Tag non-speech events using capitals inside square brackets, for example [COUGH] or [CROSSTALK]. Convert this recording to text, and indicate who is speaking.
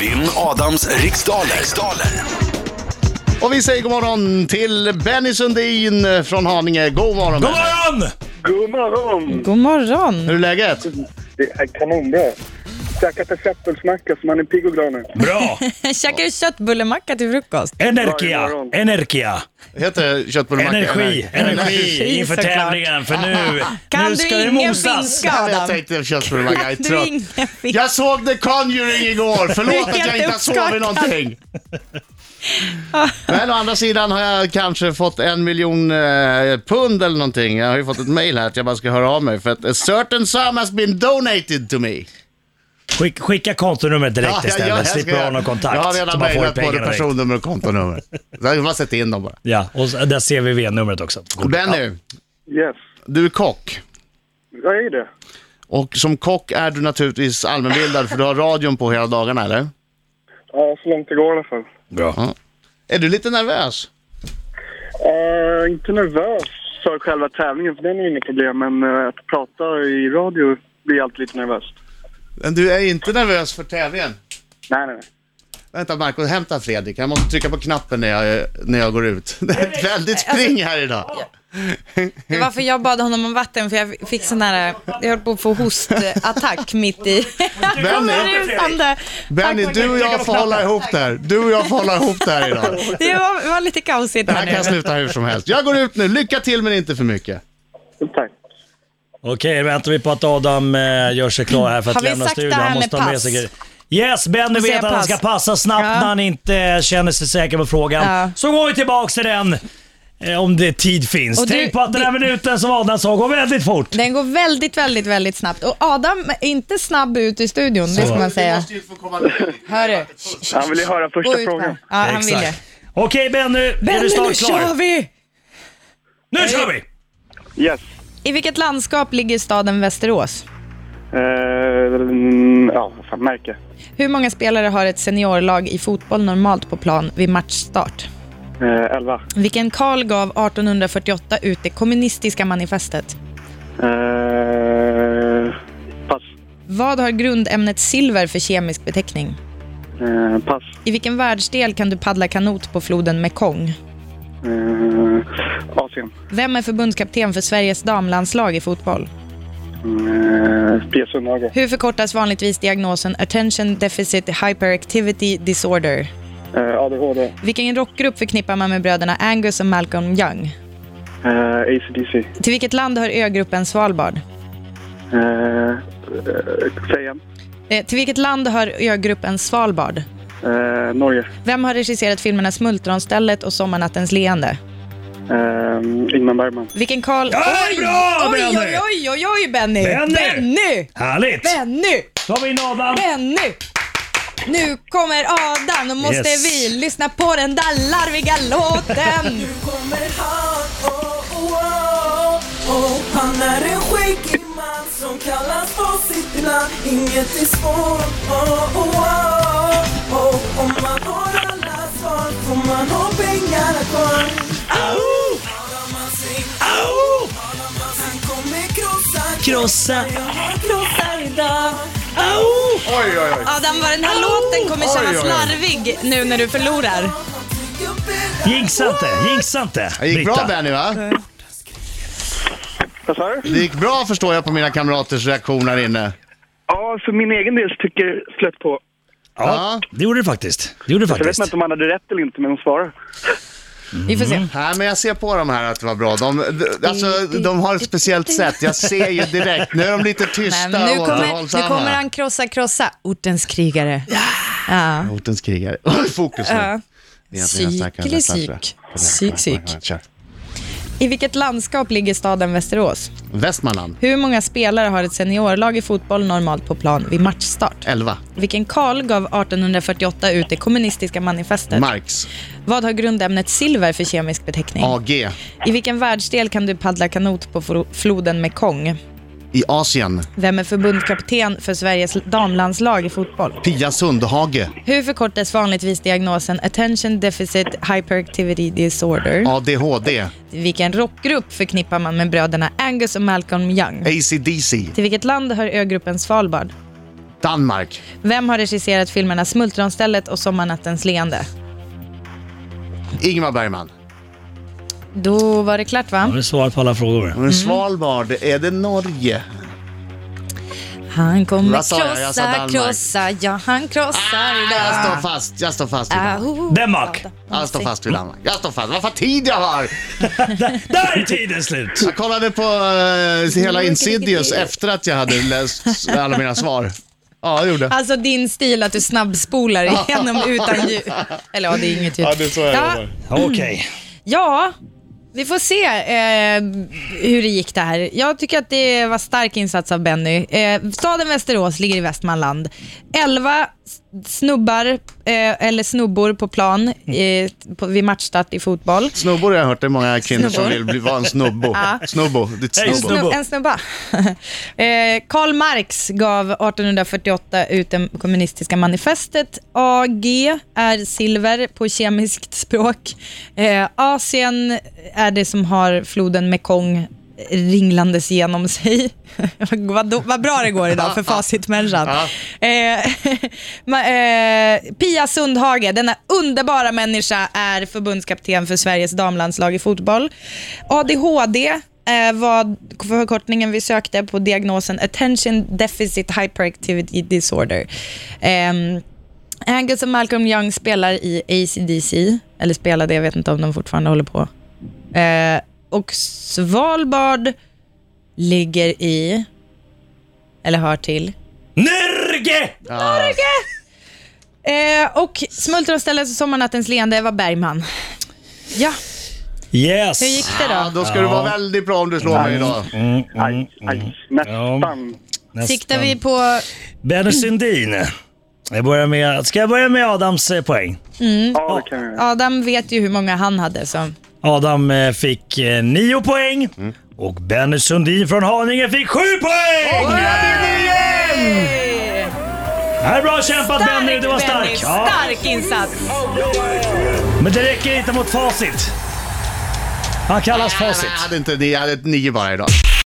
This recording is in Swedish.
Speaker 1: Vinn Adams riksdaler. riksdaler.
Speaker 2: Och vi säger god morgon till Benny Sundin från Haninge. God morgon
Speaker 3: God
Speaker 2: Benny.
Speaker 3: morgon!
Speaker 4: God morgon!
Speaker 5: God morgon! [LAUGHS]
Speaker 2: Hur är läget?
Speaker 4: Det är kanon det. Käkat en köttbullsmacka så man är pigg och glad nu.
Speaker 3: Bra!
Speaker 5: Käkar du köttbullemacka till frukost?
Speaker 3: [LAUGHS] Energia! Energia!
Speaker 2: Heter köttbullemacka?
Speaker 3: Energi! Energi inför
Speaker 5: såklart.
Speaker 3: tävlingen, för
Speaker 2: [LAUGHS]
Speaker 3: nu,
Speaker 5: Kan
Speaker 3: nu ska
Speaker 5: du
Speaker 3: det
Speaker 5: ingen
Speaker 3: mosas!
Speaker 5: finska
Speaker 2: Jag
Speaker 5: Adam?
Speaker 2: tänkte köttbullemacka, jag är
Speaker 5: [LAUGHS] Du är
Speaker 2: trött.
Speaker 5: ingen finska.
Speaker 2: Jag såg The Conjuring igår, förlåt att jag
Speaker 5: Helt
Speaker 2: inte har sovit
Speaker 5: uppskakad.
Speaker 2: någonting. Men å andra sidan har jag kanske fått en miljon eh, pund eller någonting. Jag har ju fått ett mail här att jag bara ska höra av mig för att a certain sum has been donated to me.
Speaker 3: Skick, skicka kontonumret direkt istället,
Speaker 2: ska
Speaker 3: slipper
Speaker 2: göra.
Speaker 3: ha någon kontakt.
Speaker 2: Jag har
Speaker 3: så
Speaker 2: redan
Speaker 3: man får
Speaker 2: mejlat både
Speaker 3: pengarna direkt.
Speaker 2: personnummer och kontonummer. Så jag bara sätta in dem bara.
Speaker 3: Ja, och så- där ser vi V-numret också.
Speaker 2: Benny,
Speaker 4: Yes,
Speaker 2: du är kock.
Speaker 4: jag är det.
Speaker 2: Och som kock är du naturligtvis allmänbildad för du har radion på hela dagarna eller?
Speaker 4: Ja, så långt det går i alla fall.
Speaker 3: Bra.
Speaker 2: Är du lite nervös?
Speaker 4: Uh, inte nervös för själva tävlingen, för den är inget problem. Men eh, att prata i radio blir alltid lite nervöst.
Speaker 2: Men du är inte nervös för tävlingen?
Speaker 4: Nej, nej, nej.
Speaker 2: Vänta Marco, hämta Fredrik. Jag måste trycka på knappen när jag, när jag går ut. Det är ett väldigt spring här idag.
Speaker 5: Det var för jag bad honom om vatten för jag fick sån här, jag höll på att få hostattack
Speaker 3: [LAUGHS]
Speaker 5: mitt i.
Speaker 2: Benny,
Speaker 5: Rusande.
Speaker 2: Benny
Speaker 5: Tack.
Speaker 2: du och jag får hålla ihop det här. Du och jag får hålla ihop det här idag.
Speaker 5: Det var, det var lite kaosigt
Speaker 2: Det här
Speaker 5: här
Speaker 2: kan
Speaker 5: nu.
Speaker 2: sluta hur som helst. Jag går ut nu. Lycka till men inte för mycket.
Speaker 4: Tack.
Speaker 3: Okej, väntar vi på att Adam eh, gör sig klar här för
Speaker 5: Har
Speaker 3: att
Speaker 5: vi
Speaker 3: lämna
Speaker 5: sagt det
Speaker 3: studion.
Speaker 5: här med
Speaker 3: ha
Speaker 5: pass?
Speaker 3: grejer. Yes, Benny vet
Speaker 5: Och säga
Speaker 3: att han
Speaker 5: pass.
Speaker 3: ska passa snabbt
Speaker 5: Ja.
Speaker 3: när han inte eh, känner sig säker på frågan.
Speaker 5: Ja.
Speaker 3: Så går vi tillbaks till den. eh, Om det tid finns.
Speaker 5: Och du-
Speaker 3: Tänk på att den här minuten som Adam sa går väldigt fort.
Speaker 5: Den går väldigt, väldigt, väldigt snabbt. Och Adam är inte snabb ut i studion, det ska man säga. Hörru,
Speaker 4: Han vill ju höra
Speaker 5: gå
Speaker 4: första
Speaker 5: ut
Speaker 4: frågan.
Speaker 5: med Ja, han vill
Speaker 3: Exakt.
Speaker 5: det.
Speaker 3: Okej Benny, är du
Speaker 5: Benny, nu
Speaker 3: snart
Speaker 5: kör
Speaker 3: klar?
Speaker 5: vi!
Speaker 3: Nu kör vi!
Speaker 4: Yes.
Speaker 5: I vilket landskap ligger staden Västerås?
Speaker 4: Eh, mm, ja, vad fan, märke.
Speaker 5: Hur många spelare har ett seniorlag i fotboll normalt på plan vid matchstart?
Speaker 4: Eh, elva.
Speaker 5: Vilken Karl gav 1848 ut det kommunistiska manifestet?
Speaker 4: Eh, pass.
Speaker 5: Vad har grundämnet silver för kemisk beteckning?
Speaker 4: Eh, pass.
Speaker 5: I vilken världsdel kan du paddla kanot på floden Mekong?
Speaker 4: Eh, Asien.
Speaker 5: Vem är förbundskapten för Sveriges damlandslag i fotboll?
Speaker 4: Eh, Pia Sundhage.
Speaker 5: Hur förkortas vanligtvis diagnosen Attention Deficit Hyperactivity Disorder?
Speaker 4: Eh, ADHD.
Speaker 5: Vilken rockgrupp förknippar man med bröderna Angus och Malcolm Young?
Speaker 4: Eh, ACDC.
Speaker 5: Till vilket land hör ögruppen Svalbard?
Speaker 4: Eh, eh, säg igen.
Speaker 5: Eh, till vilket land hör ögruppen Svalbard?
Speaker 4: Eh, Norge.
Speaker 5: Vem har regisserat filmerna Smultronstället och Sommarnattens leende?
Speaker 4: Eh, Ingmar Bergman.
Speaker 5: Vilken Karl...
Speaker 3: Ja, det är bra,
Speaker 5: oj,
Speaker 3: Benny!
Speaker 5: oj, oj, oj, oj, Benny!
Speaker 3: Benny!
Speaker 5: Benny!
Speaker 3: Härligt!
Speaker 5: Benny!
Speaker 3: Då har vi in Adam.
Speaker 5: Benny! Nu kommer Adam, och måste
Speaker 3: Yes.
Speaker 5: vi lyssna på den där larviga låten.
Speaker 6: kommer han, oh, oh, oh, oh. Han är en skäggig man som kallas på sitt namn Inget är svårt, oh, oh, oh, oh. Om man har alla svar får man ha pengarna kvar
Speaker 3: Au!
Speaker 6: Adam han sin,
Speaker 3: Au!
Speaker 6: Adam han sin kommer krossa
Speaker 3: Krossa!
Speaker 6: Jag har krossar idag
Speaker 3: Au!
Speaker 2: Oj, oj, oj.
Speaker 5: Adam, vad den här låten kommer
Speaker 2: Oj, oj,
Speaker 5: kännas
Speaker 2: oj.
Speaker 5: larvig nu när du förlorar.
Speaker 3: Jinxa inte, jinxa inte.
Speaker 2: Det gick bra
Speaker 3: Britta.
Speaker 2: Benny va?
Speaker 4: Vad sa du?
Speaker 2: Det gick bra förstår jag på mina kamraters reaktion här inne.
Speaker 4: Ja, för min egen del så tycker jag flött på.
Speaker 3: Ja, det gjorde du faktiskt. Det gjorde du
Speaker 4: Jag vet
Speaker 3: faktiskt.
Speaker 4: inte om han hade rätt eller inte, men de svarar.
Speaker 5: Vi får
Speaker 3: Mm.
Speaker 5: se.
Speaker 2: Nej, men jag ser på de här att det var bra. De, de, alltså, de har ett speciellt sätt. Jag ser ju direkt. Nu är de lite tysta
Speaker 5: Nej, men nu,
Speaker 2: och
Speaker 5: kommer, nu
Speaker 2: återhållsamma.
Speaker 5: kommer han krossa, krossa. Ortens krigare. Ja.
Speaker 2: Hotens krigare. [LAUGHS] Fokus nu.
Speaker 5: Ja.
Speaker 2: Det är
Speaker 5: Psyk
Speaker 2: egentligen
Speaker 5: eller
Speaker 2: nästan
Speaker 5: psyk?
Speaker 2: klart, tror jag.
Speaker 5: Psyk, psyk.
Speaker 2: Kör.
Speaker 5: I vilket landskap ligger staden Västerås?
Speaker 2: Västmanland,
Speaker 5: Hur många spelare har ett seniorlag i fotboll normalt på plan vid matchstart?
Speaker 2: 11.
Speaker 5: Vilken Karl gav 1848 ut det kommunistiska manifestet?
Speaker 2: Marx,
Speaker 5: Vad har grundämnet silver för kemisk beteckning?
Speaker 2: AG.
Speaker 5: I vilken världsdel kan du paddla kanot på fro- floden Mekong?
Speaker 2: I Asien,
Speaker 5: Vem är förbundskapten för Sveriges damlandslag i fotboll?
Speaker 2: Pia Sundhage,
Speaker 5: Hur förkortas vanligtvis diagnosen Attention Deficit Hyperactivity Disorder?
Speaker 2: ADHD,
Speaker 5: Vilken rockgrupp förknippar man med bröderna Angus och Malcolm Young?
Speaker 2: ACDC,
Speaker 5: Till vilket land hör ögruppen Svalbard?
Speaker 2: Danmark.
Speaker 5: Vem har regisserat filmerna Smultronstället och Sommarnattens leende?
Speaker 2: Ingmar Bergman.
Speaker 5: Då var det klart
Speaker 3: Har
Speaker 5: va?
Speaker 3: du svarat på alla frågor?
Speaker 2: Men Svalbard, är det Norge?
Speaker 5: Han kommer
Speaker 2: Vad sa jag? Jag sa
Speaker 5: krossa,
Speaker 2: Danmark.
Speaker 5: krossa, ja han krossar
Speaker 2: Jag
Speaker 5: ah,
Speaker 2: står fast, jag står
Speaker 3: Ah,
Speaker 2: fast vid Danmark.
Speaker 3: Danmark.
Speaker 2: Jag står fast vid Danmark. Jag står fast. Vad fan tid jag har!
Speaker 3: Där är tiden slut!
Speaker 2: Jag kollade på eh, hela Insidious efter att jag hade läst alla mina svar. Ja, jag gjorde.
Speaker 3: Ah.
Speaker 5: Alltså din stil att du snabbspolar igenom utan ljud. Eller ja, det är inget ljud.
Speaker 2: Ja, det är så jag
Speaker 5: ja,
Speaker 2: jobbar.
Speaker 3: Okej.
Speaker 5: ja, vi får se eh, hur det gick det här. Jag tycker att det var stark insats av Benny. Eh, staden Västerås ligger i Västmanland. 11 snubbar, eh, eller snubbor på plan eh, på, vid matchstart i fotboll.
Speaker 2: Snubbor har jag hört, det är många kvinnor som
Speaker 5: Snubbor.
Speaker 2: vill bli, vara en snubbo.
Speaker 5: Ja.
Speaker 2: Snubbo, ditt
Speaker 3: Ah. Hej,
Speaker 2: snubbo.
Speaker 3: snubbo.
Speaker 5: Snubb, en snubba. [LAUGHS] eh, Karl Marx gav 1848 ut det kommunistiska manifestet. AG är silver på kemiskt språk. Eh, Asien är det som har floden Mekong ringlandes genom sig. [LAUGHS] vad, då, vad bra det går idag för facitmänniskan. eh, [LAUGHS] ma- eh, Pia Sundhage, denna underbara människa, är förbundskapten för Sveriges damlandslag i fotboll. ADHD eh, var förkortningen vi sökte på diagnosen Attention Deficit Hyperactivity Disorder. Ehm, Angus och Malcolm Young spelar i ACDC, eller spelade, jag vet inte om de fortfarande håller på. Eh, och Svalbard ligger i, eller hör till,
Speaker 3: Norge!
Speaker 5: Eh, och Smultronstället och Sommarnattens leende var Bergman. Ja,
Speaker 3: Yes.
Speaker 5: hur gick det då?
Speaker 2: Ja, då ska du vara väldigt bra om du slår mig idag.
Speaker 3: Mm, mm,
Speaker 4: Aj, aj, nästan.
Speaker 3: nästan.
Speaker 5: Siktar vi på...
Speaker 3: Benny Sundin. Jag börjar med... Ska jag börja med Adams eh, poäng?
Speaker 4: Ja, det kan jag göra.
Speaker 5: Adam vet ju hur många han hade. Så.
Speaker 3: Adam eh, fick eh, nio poäng och Benny Sundin från Haninge fick sju poäng! Det här är bra kämpat Benny, du var stark.
Speaker 5: Benny,
Speaker 3: Ja,
Speaker 5: stark insats.
Speaker 3: men det räcker inte mot facit. Han kallas
Speaker 2: Nej,
Speaker 3: facit.
Speaker 2: Jag hade inte det, jag hade ett nio bara idag.